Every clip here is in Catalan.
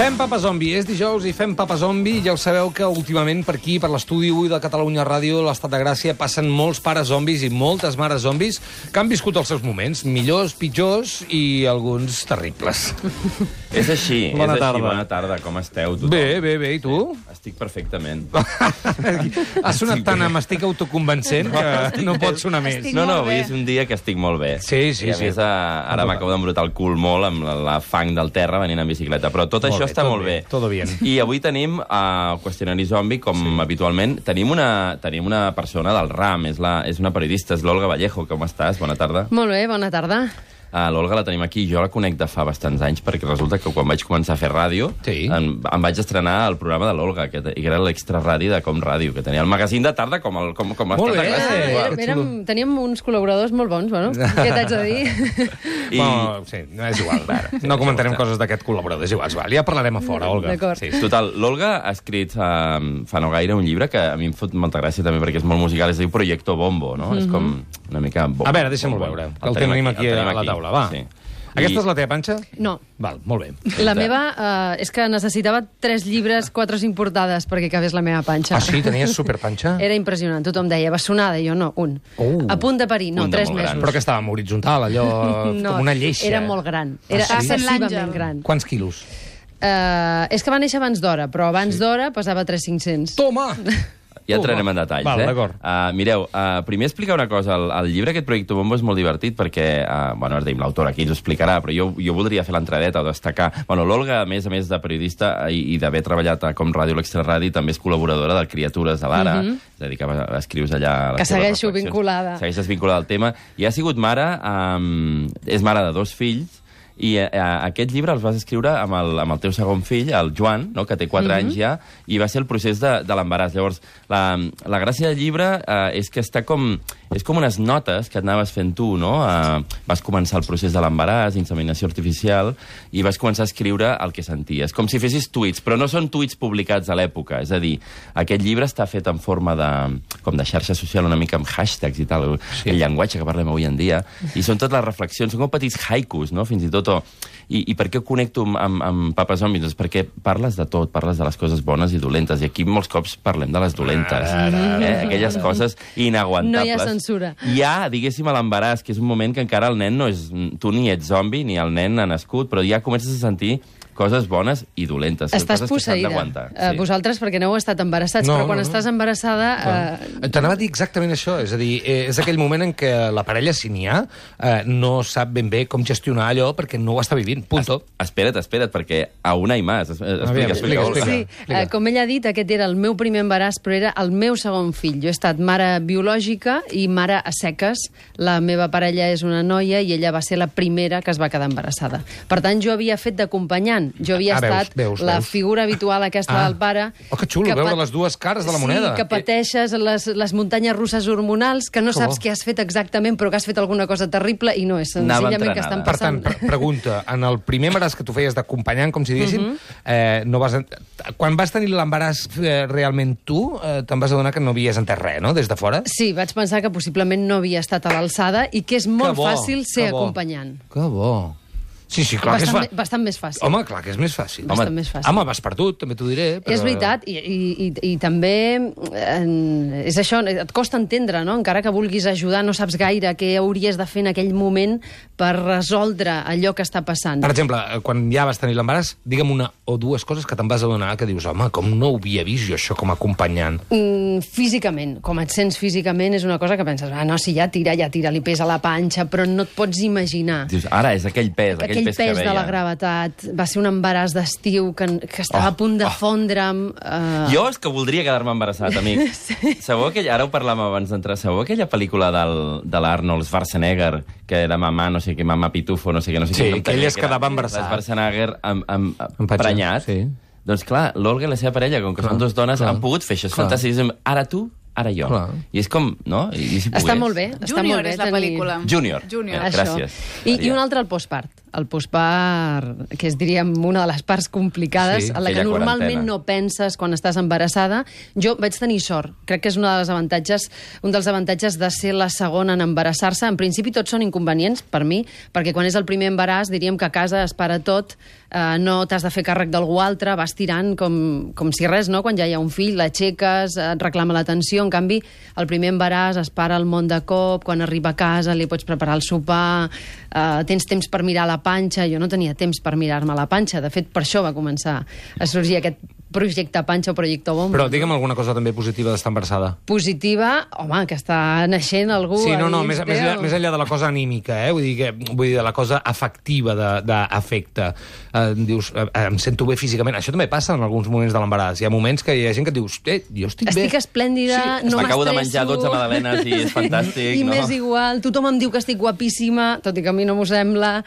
Fem Papa Zombi, és dijous i fem Papa Zombi. Ja ho sabeu que últimament per aquí, per l'estudi 1 de Catalunya Ràdio, l'Estat de Gràcia, passen molts pares zombis i moltes mares zombis que han viscut els seus moments, millors, pitjors i alguns terribles. És així, Bona és tarda. així. Bona tarda, com esteu tothom? Bé, Ah. bé, bé, i tu? Estic perfectament. Ha sonat tan amb estic autoconvencent que no pot sonar més. Estic No, no, molt avui bé. és un dia que estic molt bé. Sí, sí, I a sí. més, eh, ara m'acabo d'embrutar el cul molt amb la, la fang del terra venint en bicicleta, però tot Molt això bé, està tot molt bé, bé. todo bien. I avui tenim, a uh, Qüestionari Zombi, com sí. habitualment, tenim una, tenim una persona del RAM, és, la, és una periodista, és l'Olga Vallejo. Com estàs? Bona tarda. Molt bé, bona tarda. Uh, L'Olga la tenim aquí, jo la conec de fa bastants anys, perquè resulta que quan vaig començar a fer ràdio Sí. em, em vaig estrenar al programa de l'Olga, que, te- que era l'extraradi de Com Ràdio, que tenia el magazín de tarda com, el, com, com Molt Estat de bé. Gràcia, Eh, Ah, igual. que érem, xulo. teníem uns col·laboradors molt bons, bueno, què t'haig de dir? I... I- Bueno, sí, no és igual. Mm, No comentarem coses d'aquest col·laborador, és igual, és igual. Ja parlarem a fora, Olga. D'acord. Sí, Total, l'Olga ha escrit um, fa no gaire un llibre que a mi em fot molta gràcia també perquè és molt musical, es diu Proyecto Bombo, no? Mm -hmm. És com una mica... Bombo, Mhm. A veure, deixa'm-ho bombo. veure, que el tenim aquí el a la taula, va. Sí. Aquesta I- és la teva panxa? No. Val, molt bé. La meva eh, és que necessitava tres llibres, quatre o cinc portades perquè cabés la meva panxa. Ah, sí? Tenies superpanxa? Era impressionant. Tothom deia, bastonada, i jo no, un. Oh. A punt de parir, no, Un de tres molt gran. mesos. Però que estàvem horitzontal, allò, no, com una lleixa. eh? Era molt gran. Era Ah, sí? excessivament gran. Quants quilos? Eh, és que va néixer abans d'hora, però abans d'hora pesava 3-500. Toma! Ja Toma. entrarem en detalls, Val, eh? d'acord. Uh, mireu, uh, primer explicar una cosa. El, el llibre aquest, Proyecto Bombo, és molt divertit perquè, uh, bueno, ara tenim l'autor aquí, ens ho explicarà, però jo, jo voldria fer l'entradeta o destacar. Bueno, l'Olga, a més a més de periodista eh, i, i d'haver treballat a Com Ràdio, l'Extra Ràdio, també és col·laboradora del Criatures de l'Ara, és a dir, que va- escrius allà... les Mhm. Que teves segueixo reflexions. vinculada. Segueixes vinculada al tema. I ha sigut mare, um, és mare de dos fills, i eh, aquest llibre el vas escriure amb el, amb el teu segon fill, el Joan, no, que té 4 mm -hmm. anys ja, i va ser el procés de, de l'embaràs. Llavors, la, la gràcia del llibre eh, és que està com... És com unes notes que anaves fent tu, no? Eh, vas començar el procés de l'embaràs, inseminació artificial, i vas començar a escriure el que senties. Com si fessis tuits, però no són tuits publicats a l'època. És a dir, aquest llibre està fet en forma de, com de xarxa social, una mica amb hashtags i tal, sí. el llenguatge que parlem avui en dia, i són totes les reflexions, són com petits haikus, no?, fins i tot. O... I, I per què ho connecto amb, amb, amb Papa Zombies? Doncs perquè parles de tot, parles de les coses bones i dolentes, i aquí molts cops parlem de les dolentes, eh? aquelles coses inaguantables. No hi ha censura. Hi ha, diguéssim, a l'embaràs, que és un moment que encara el nen no és... Tu ni ets zombi, ni el nen ha nascut, però ja comences a sentir coses bones i dolentes. Estàs coses que s'han posseïda. d'aguantar. Eh, Vosaltres, perquè no heu estat embarassats, No, però quan no, no. estàs embarassada... Eh, T'anava a dir exactament això, és a dir, eh, és aquell moment en què la parella, si n'hi ha, eh, no sap ben bé com gestionar allò perquè no ho està vivint, punto. Espera't, espera't, perquè aún hay más. Es- Explica, Aviam, explica, explica, Olga. explica. Sí, eh, com ella ha dit, aquest era el meu primer embaràs, però era el meu segon fill. Jo he estat mare biològica i mare a seques. La meva parella és una noia i ella va ser la primera que es va quedar embarassada. Per tant, jo havia fet d'acompanyant. Jo havia Ah, veus, estat veus, la veus. figura habitual aquesta Ah. del pare. Oh, que xulo, veure pat- les dues cares de la moneda. Eh, Sí, que pateixes les, les muntanyes russes hormonals, que no Que saps bo. què has fet exactament, però que has fet alguna cosa terrible i no, és Anava senzillament que estan entrenada. Per tant, passant... pre pregunta, en el primer embaràs que tu feies d'acompanyant, com si diguéssim, Mhm. eh, no vas en... quan vas tenir l'embaràs eh, realment tu, eh, te'n vas adonar que no havies entès res, no?, des de fora? Sí, vaig pensar que possiblement no havia estat a l'alçada i que és molt Que bo, fàcil ser que bo. acompanyant. Que bo. Sí, sí, clar bastant, que me- és fa... bastant més fàcil. Home, clar que és més fàcil. bastant home, més fàcil. Home, vas perdut, també t'ho diré. Però... És veritat, i, i, i, i també eh, és això, et costa entendre, no? Encara que vulguis ajudar, no saps gaire què hauries de fer en aquell moment per resoldre allò que està passant. Per exemple, eh, quan ja vas tenir l'embaràs, digue'm una o dues coses que te'n vas adonar que dius, home, com no ho havia vist jo això com a acompanyant. Mm, físicament, com et sents físicament és una cosa que penses, ah, no, si ja tira, ja tira, li pesa la panxa, però no et pots imaginar. Dius, ara és aquell pes, aquell, aquell pes pes, que de la veia. gravetat, va ser un embaràs d'estiu que, que estava Oh, a punt de oh. fondre'm. Uh, Jo és que voldria quedar-me embarassat, amic. sí. Sabeu aquella, ara ho parlàvem abans d'entrar, sabeu aquella pel·lícula del, de l'Arnold Schwarzenegger, que era mamà, no sé què, mamà pitufo, no sé què, no sé Sí, què. que ell es quedava embarassat. Schwarzenegger amb, amb, Amb patxa, emprenyat. sí. Doncs clar, l'Olga i la seva parella, com que clar, són dues dones, clar, han pogut fer això. clar. Són fantàstics. Ara tu, ara jo. Clar. I és com, no? I, i si està pogués. molt bé. està Junior molt bé és la tenir- pel·lícula. Junior. Junior. Eh, gràcies, I, I Maria. un altre, el postpart. El postpart, que és, diríem, una de les parts complicades, Sí, a la que aquella normalment quarantena. no penses quan estàs embarassada. Jo vaig tenir sort. Crec que és una de les avantatges, un dels avantatges de ser la segona en embarassar-se. En principi tots són inconvenients, per mi, perquè quan és el primer embaràs diríem que a casa es para tot, eh, no t'has de fer càrrec d'algú altre, vas tirant com, com si res, no? Quan ja hi ha un fill, l'aixeques, et reclama l'atenció. En canvi, el primer embaràs es para el món de cop, quan arriba a casa li pots preparar el sopar, eh, tens temps per mirar la panxa. Jo no tenia temps per mirar-me la panxa. De fet, per això va començar a sorgir aquest projecte panxa o projecte bomba. Però digue'm alguna cosa també positiva d'estar embarassada. Positiva, home, que està naixent algú... Sí, a no, no, dins més, teu. més, enllà, més enllà de la cosa anímica, eh? vull, dir que, vull dir, de la cosa afectiva, de- d'afecte. Eh, dius, eh, em sento bé físicament. Això també passa en alguns moments de l'embaràs. Hi ha moments que hi ha gent que et dius, eh, jo estic, bé. Estic esplèndida, no M'acabo de menjar m'estresso. 12 magdalenes i és fantàstic, I no? m'és igual, tothom em diu que estic guapíssima, tot i que a mi no m'ho sembla.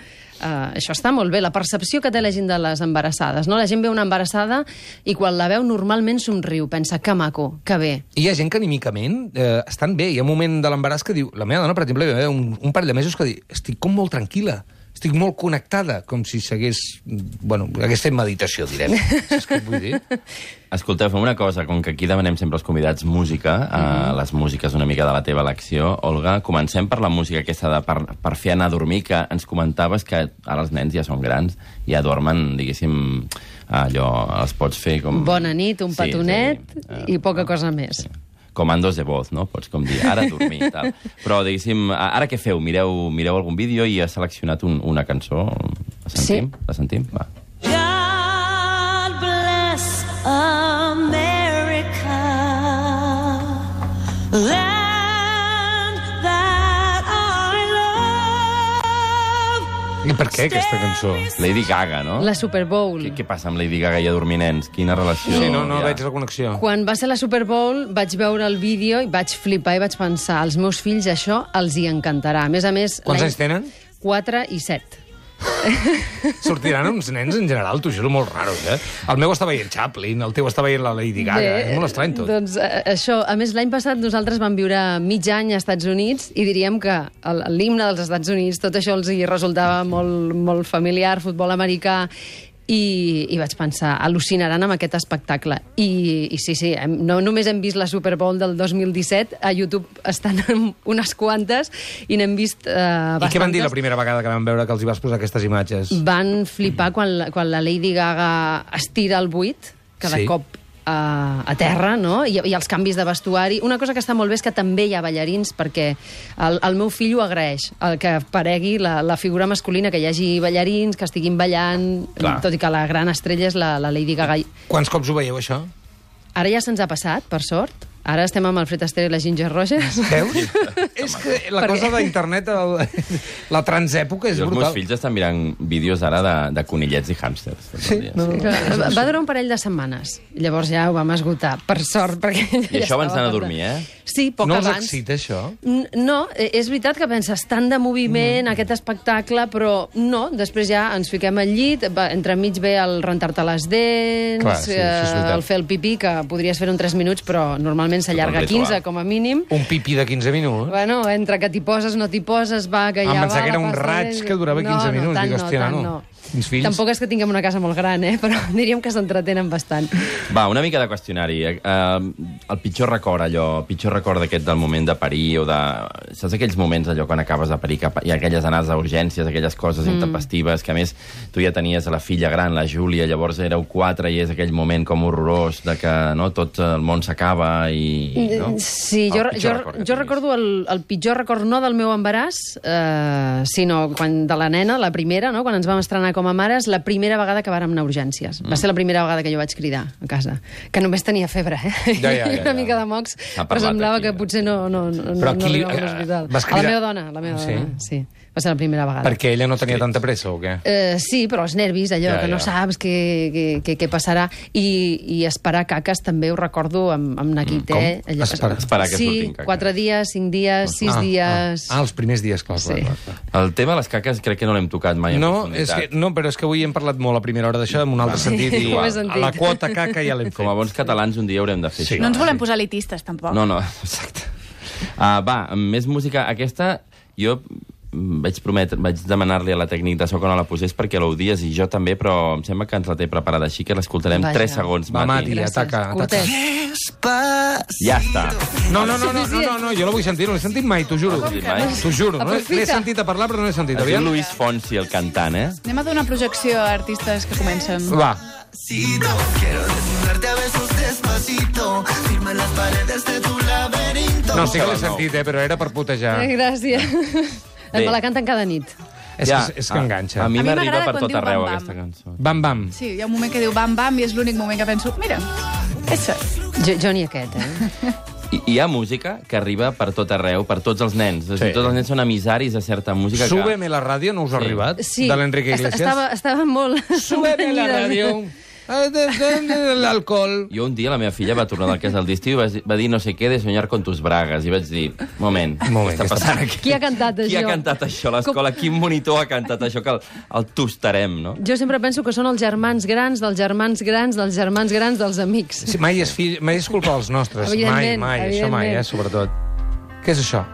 Uh, això està molt bé, la percepció que té la gent de les embarassades. No? La gent ve una embarassada i quan la veu normalment somriu, pensa que maco, que bé. Hi ha gent que anímicament eh, estan bé. Hi ha un moment de l'embaràs que diu... La meva dona, per exemple, hi va haver un, un parell de mesos que diu estic com molt tranquil·la, estic molt connectada, com si s'hagués... Bueno, hagués fet meditació, direm. Saps què et vull dir? Escolteu, fem una cosa, com que aquí demanem sempre als convidats música, mm Mhm. -hmm. les músiques una mica de la teva elecció, Olga, comencem per la música aquesta de per, per fer anar a dormir, que ens comentaves que ara els nens ja són grans, ja dormen, diguéssim, allò, els pots fer com... Bona nit, un Sí, petonet sí, eh, i poca cosa més. comandos de voz, no? Pots com dir, ara a dormir, tal. Però, diguéssim, a- ara què feu? Mireu, mireu algun vídeo i has seleccionat un, una cançó? La sentim? Sí. La sentim? Va. God bless America, land that I love. I per què aquesta cançó? Lady Gaga, no? La Super Bowl. Què, què passa amb Lady Gaga i adormir nens? Quina relació? Sí, no, no hi ha? veig la connexió. Quan va ser la Super Bowl vaig veure el vídeo i vaig flipar i vaig pensar als meus fills això els hi encantarà. A més a més... Quants l'any- anys tenen? 4 i 7. Sortiran uns nens en general, t'ho juro, molt raros, eh? El meu està veient Chaplin, el teu està veient la Lady Gaga, Bé, eh? és molt estrany tot. Doncs eh, això, a més, l'any passat nosaltres vam viure mig any a Estats Units i diríem que el- l'himne dels Estats Units, tot això els hi resultava molt, molt familiar, futbol americà, i, i vaig pensar, al·lucinaran amb aquest espectacle. I, i sí, sí, hem, no només hem vist la Super Bowl del 2017, a YouTube estan en unes quantes, i n'hem vist eh, bastantes. I què van dir la primera vegada que van veure que els hi vas posar aquestes imatges? Van flipar Mm. quan, la- quan la Lady Gaga estira el buit, que Sí. de sí. cop eh, a terra, no? I, I els canvis de vestuari. Una cosa que està molt bé és que també hi ha ballarins, perquè el, el meu fill ho agraeix, el que aparegui la, la figura masculina, que hi hagi ballarins, que estiguin ballant, Clar. tot i que la gran estrella és la, la Lady Gaga. Quants cops ho veieu, això? Ara ja se'ns ha passat, per sort. Ara estem amb el Fred Astaire i la Ginger Rogers. Veus? és que la cosa d'internet, el- la transèpoca és I els meus brutal. fills estan mirant vídeos ara de, de conillets i hàmsters. Sí, no, no. Va va durar un parell de setmanes. Llavors ja ho vam esgotar, per sort. Perquè ja I això abans estava d'anar a dormir, esgotat. eh? Sí, poc no els abans. excita, això? N- No, eh, és veritat que penses tant de Mm. moviment, aquest espectacle, però no, després ja ens fiquem al llit, va, entremig ve el rentar-te les dents, eh, Clar, sí, això és veritat. el fer el pipí, que podries fer en 3 minuts, però normalment s'allarga un ritual. 15 com a mínim. Un pipí de 15 minuts? Ah, Bueno, entre que t'hi poses, no t'hi poses, va, que Em ja va... pensava que era la un pasta raig de- que durava 15 no, minuts. No, tant, Dic, no, hòstia, tant, nano. no. Mis fills. Tampoc és que tinguem una casa molt gran, eh? però diríem que s'entretenen bastant. Va, una mica de qüestionari. Eh, el pitjor record, allò, el pitjor record d'aquest del moment de parir o de... Saps aquells moments, allò, quan acabes de parir cap, i aquelles anades a urgències, aquelles coses mm. intempestives, que a més tu ja tenies la filla gran, la Júlia, llavors éreu quatre i és aquell moment com horrorós de que no, tot el món s'acaba i... No? Sí, jo, El jo, pitjor record que jo tinguis. recordo el, el pitjor record no del meu embaràs, eh, sinó quan de la nena, la primera, no? quan ens vam estrenar com a mares, la primera vegada que vàrem anar a urgències. Mm. Va ser la primera vegada que jo vaig cridar a casa, que només tenia febre, eh? Ja, ja, ja, I una ja. mica de mocs, S'ha però parlat, semblava que potser no, no, no, eh? Però no, no aquí, arribava a eh, l'hospital. vas A la cridar- meva dona, la meva Sí? dona, sí. Va ser la primera vegada. Perquè ella no tenia tanta pressa, o què? Eh, sí, però els nervis, allò, Ja, ja, que no ja. saps què, què, què, què passarà. I, I esperar caques també ho recordo amb, amb Naquit, Mm, com? eh? Allò, Esperar- esperar que sí, surtin caques. quatre dies, cinc dies, sis ah, dies... Ah, ah, els primers dies, clar, clar, Sí. clar, clar. El tema de les caques crec que no l'hem tocat mai en No, és profunditat. que, no, però és que avui hem parlat molt a primera hora d'això, en un altre sentit, i ho he a sentit. la quota caca ja l'hem fet. Com a bons catalans un dia haurem de fer Sí. això. No ens volem posar elitistes, tampoc. No, no, exacte. Uh, va, amb més música. Aquesta, jo mm, vaig prometre, vaig demanar-li a la tècnic de so que no la posés perquè l'odies i jo també, però em sembla que ens la té preparada així que l'escoltarem Vaja. 3 segons, Va, Mati. Mati, ataca, ataca. Curtet. Ja està. No, no, no, no, no, no, no, jo la vull sentir, no l'he sentit mai, t'ho juro. No l'has sentit mai? T'ho juro, no? Aprofita. l'he sentit a parlar però no l'he sentit. Es diu Aviam. Luis Fonsi, el cantant, eh? Anem a donar projecció a artistes que comencen. Va, Quiero desnudarte a besos despacito. Firma en las paredes de tu laberinto. no, sí que l'he sentit, eh, però era per putejar. Eh, Gràcies. Bé. Me la canten cada nit. És que, és que a- enganxa. Ah, A mi A mi m'arriba m'agrada per quan tot diu arreu, bam, bam. aquesta cançó. Bam, bam. Sí, hi ha un moment que diu bam, bam, i és l'únic moment que penso, mira, això. Jo, jo ni aquest, eh? I, hi ha música que arriba per tot arreu, per tots els nens. Sí. Sí. Tots els nens són amisaris de certa música. Súbeme la ràdio, no us ha arribat? Sí. De l'Enrique Est- Iglesias? Estava, estava molt... Súbeme la convenida. ràdio. Eh, de- de- de- L'alcohol. Jo un dia la meva filla va tornar del cas del distí i va, va dir no sé què de soñar con tus bragas. I vaig dir, moment, Moment, què està què està passant aquí? Qui ha cantat Qui ha això? cantat això a l'escola? Quin monitor ha cantat això que el, el tostarem, no? Jo sempre penso que són els germans grans, dels germans grans, dels germans grans, dels amics. Sí, mai, és fill, mai és culpa dels nostres. Mai, Evidentment, mai. Això mai, eh, evidentment. sobretot. Què és això?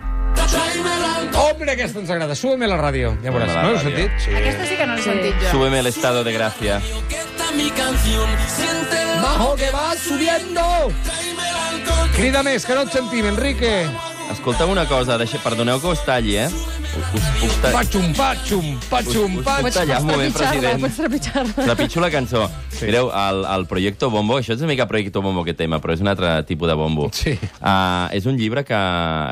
Hombre, aquesta ens agrada. Súbeme la ràdio. Ja veuràs. Súbeme la No heu ràdio. sentit? Sí. Aquesta sí que no l'he sentit jo. Súbeme el estado de gracia. Bajo que va subiendo. Crida més, que no et sentim, Enrique. Escolta'm una cosa, deixa, perdoneu que us talli, eh? Us, us, us, ta- Patxum, patxum, patxum, Us- us- Pots, patxum. Talla, pots un moment, trepitjar-la, president. pots trepitjar-la. Trepitjo la cançó. Sí. Mireu, el, el Proyecto Bombo, això és una mica Proyecto Bombo que tema, però és un altre tipus de bombo. Sí. Uh, és un llibre que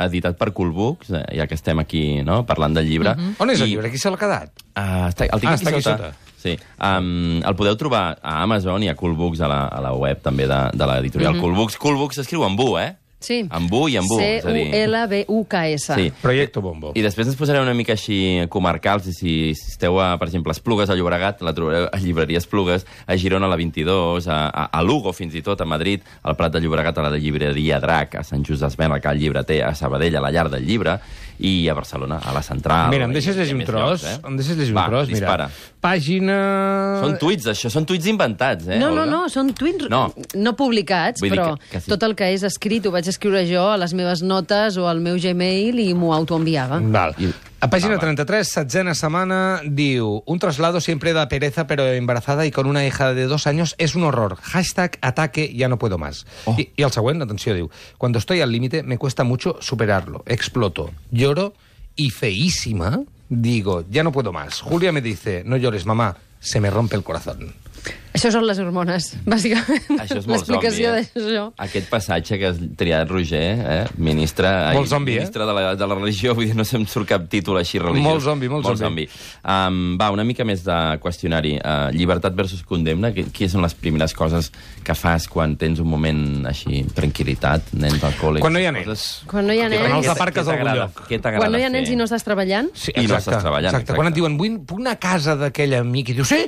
editat per Cool Books, eh, ja que estem aquí no, parlant del llibre. Mhm. Mm On és el llibre? Qui se l'ha quedat? Ah, està, el tinc Ah, aquí, està aquí sota. sota. Sí. Um, el podeu trobar a Amazon i a Cool Books, a la, a la web també de, de l'editorial mm -hmm. Cool Books. Cool Books s'escriu amb U, eh? Sí. Amb U i amb U, és a dir- C-U-L-B-U-K-S. Sí. Eh, Proyecto Bombo. I després ens posaré una mica així comarcals, i si esteu, a, per exemple, a Esplugues, a Llobregat, la trobareu a Llibreria Esplugues, a Girona, a la 22, a, a, a Lugo, fins i tot, a Madrid, al Prat de Llobregat, a la Llibreria Drac, a Sant Just d'Esmena, al Cal Llibreter, a Sabadell, a la Llar del Llibre, i a Barcelona, a la Central. Mira, em deixes i- i a llegir un més tros? llocs, eh? Em deixes llegir Va, un tros? Dispara. Mira, pàgina... Són tuits, això, són tuits inventats, eh? Eh, No, no, Olga? no, són tuits No. no, no publicats, Vull dir però que- que sí. tot el que és escrit ho vaig escriure jo a les meves notes o al meu Gmail i m'ho autoenviava. Val. I- A Ah, pàgina va. 33, setzena setmana, diu... Un traslado siempre da pereza, pero embarazada y con una hija de dos años es un horror. Hashtag ataque, ya no puedo más. Oh. I, I el següent, atenció, diu... Cuando estoy al límite me cuesta mucho superarlo. Exploto, lloro y feísima digo, ya no puedo más. Julia me dice, no llores, mamá, se me rompe el corazón. Això són les hormones, bàsicament. Mm. Això és molt L'explicació zombi, eh? d'això. Aquest passatge que has triat, Roger, eh? ministre, ai, Molt zombi, eh? ministre de, la, de la religió, vull dir, no se'm surt cap títol així religiós. Molt zombi, molt zombi. zombi. Um, va, una mica més de qüestionari. Uh, llibertat versus condemna, que, qui són les primeres coses que fas quan tens un moment així, tranquil·litat, nens al col·le? Quan no hi ha Coses- nens. Quan no hi ha Que quan els nens, aparques Què t'agrada- a algun lloc. Què t'agrada quan no hi ha nens fer? i no estàs treballant, Sí, I no exacte, estàs treballant, Exacte. Quan exacte. et diuen, vull puc anar a casa d'aquell amic, i dius, sí,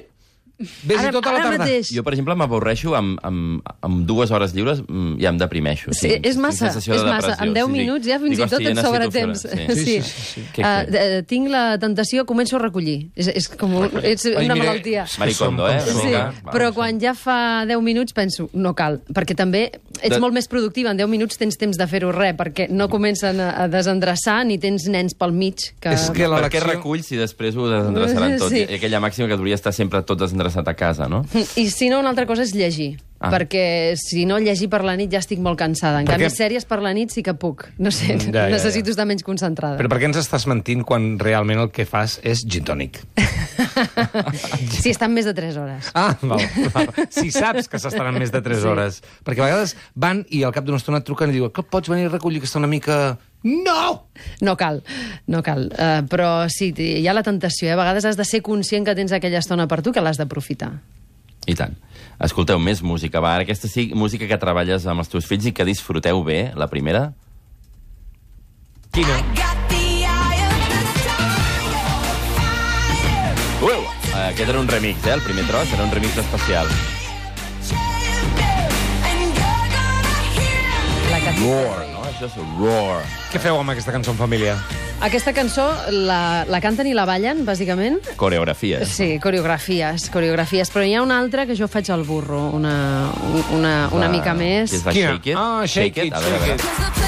vés-hi ara, tota la ara tarda. mateix... Jo, per exemple, m'avorreixo amb, amb, amb dues hores lliures mm, i em deprimeixo. Sí, és massa, és sensació de massa. depressió. En 10 minuts ja fins Dic, i tot "Hòstia, et ja sobra necessito temps. fer-ho". eh? Sí. Sí. Què, Ah, què? de- Tinc la tentació, començo a recollir. És, és com un, és Ai, una mira, malaltia. és que Maricondo, som eh? com- Vinga, Sí, va, però sí. quan ja fa 10 minuts penso, no cal, perquè també ets De- molt més productiva, en 10 minuts tens temps de fer-ho res, perquè no comencen a, a desendreçar ni tens nens pel mig. Que... És que Per què l'elecció... recull si després ho desendreçaran tot? Sí. Sí. Aquella màxima que hauria estar sempre tot desendreçat a casa, no? I si no, una altra cosa és llegir. Ah. Ah. Perquè si no llegir per la nit ja estic molt cansada. En Per canvi, què? sèries per la nit sí que puc. No sé, Mm, ja, ja, ja. necessito estar menys concentrada. Però per què ens estàs mentint quan realment el que fas és gin tònic? Sí, estan més de 3 hores. Ah, val, val. Si saps que s'estaran més de 3 sí. hores. Perquè a vegades van i al cap d'una estona et truquen i diuen que pots venir a recollir que està una mica... No! No cal, no cal. Uh, però sí, hi ha la tentació. Eh? A vegades has de ser conscient que tens aquella estona per tu que l'has d'aprofitar. I tant. Escolteu, més música, va. Ara aquesta sí, música que treballes amb els teus fills i que disfruteu bé, la primera. Tarantino. Ueu! Aquest era un remix, eh? El primer tros era un remix especial. La que... Roar, no? Això és el roar. Què feu amb aquesta cançó en família? Aquesta cançó la, la canten i la ballen, bàsicament. Coreografia. Sí, coreografies, coreografies. Però n'hi ha una altra que jo faig al burro, una, una, una La- mica més. que És la Quina? Shake It. Ah, Shake It, A veure, a Shake veure. It.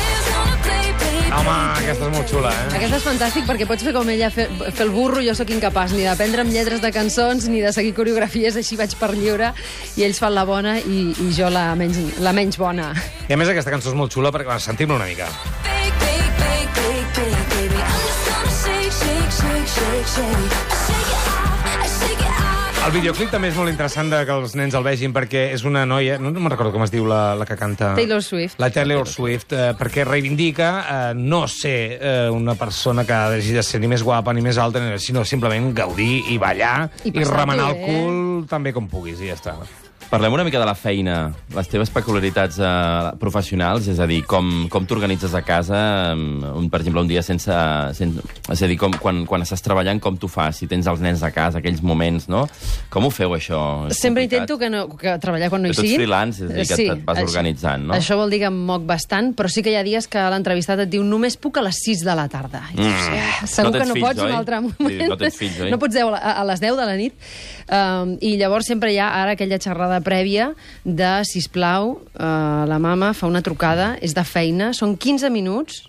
Home, aquesta és molt xula, eh? Aquest és fantàstic perquè pots fer com ella, fer, fer el burro, jo sóc incapaç ni d'aprendre'm lletres de cançons ni de seguir coreografies, així vaig per lliure i ells fan la bona i, i jo la menys, la menys bona. I a més aquesta cançó és molt xula perquè va, sentim-la una mica. El videoclip també és molt interessant de que els nens el vegin perquè és una noia... No, no me'n recordo com es diu la, la que canta... Taylor Swift. La Taylor Swift, eh, perquè reivindica eh, no ser eh, una persona que hagi de ser ni més guapa ni més alta, ni- sinó simplement gaudir i ballar i, I passar-t'ho remenar el bé. cul també com puguis, i ja està. Parlem una mica de la feina, les teves peculiaritats eh, professionals, és a dir, com, com t'organitzes a casa, mm, un, per exemple, un dia sense... sense és a dir, com, quan, quan estàs treballant, com t'ho fas? Si tens els nens a casa, aquells moments, no? Com ho feu, això? És Sempre complicat. intento que, no, que treballar quan no hi Que tu ets siguin. freelance, és a dir, que et vas organitzant, no? Això vol dir que em moc bastant, però sí que hi ha dies que l'entrevistat et diu només puc a les 6 de la tarda. I dius, "Ah, Mm. No Segur que tens no fills, pots un oi? altre Sí, moment. no tens fills, oi? No pots deu a la- a les 10 de la nit. Um, I llavors sempre hi ha ara aquella xerrada prèvia de, sisplau, uh, la mama fa una trucada, és de feina, són 15 minuts,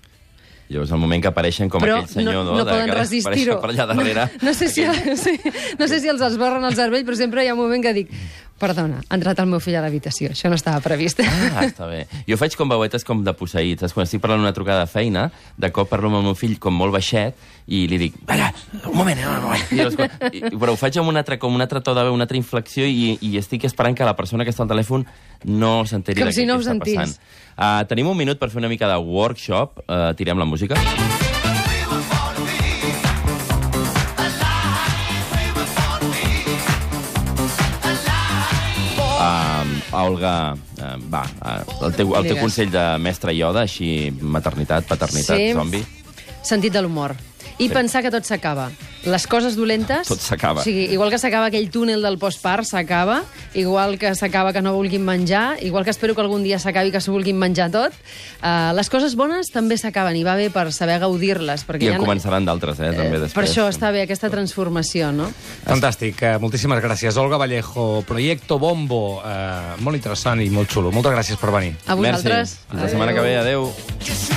Llavors, el moment que apareixen com però aquell senyor... no, no de- poden que resistir-ho. apareixen Per allà darrere. No, no, sé si, sí, no sé si els esborren el cervell, però sempre hi ha un moment que dic perdona, ha entrat el meu fill a l'habitació, això no estava previst. Ah, està bé. Jo faig com veuetes com de posseït, saps? Quan estic parlant una trucada de feina, de cop parlo amb el meu fill com molt baixet i li dic, "Ara, un moment, eh, un moment. I llavors, quan- i, però ho faig amb un altre, com un altre to de veu, una altra inflexió i, i estic esperant que la persona que està al telèfon no s'enteri Com de si què, no què ho està sentís. passant. Uh, tenim un minut per fer una mica de workshop. Uh, tirem la música. Uh, Olga, uh, va, uh, el teu, el teu Digues. consell de mestre Ioda, així, maternitat, paternitat, zombi. Sentit de l'humor. I Sí. pensar que tot s'acaba. Les coses dolentes... Tot s'acaba. O sigui, igual que s'acaba aquell túnel del postpart, s'acaba. Igual que s'acaba que no vulguin menjar. Igual que espero que algun dia s'acabi que s'ho vulguin menjar tot. Uh, les coses bones també s'acaben i va bé per saber gaudir-les. perquè I ja en no- començaran d'altres, eh, també, després. Per això està bé aquesta transformació, no? Fantàstic, eh, moltíssimes gràcies. Olga Vallejo, Proyecto Bombo, eh, molt interessant i molt xulo. Moltes gràcies per venir. A vosaltres. Merci. Fins la setmana que ve, adeu. Cause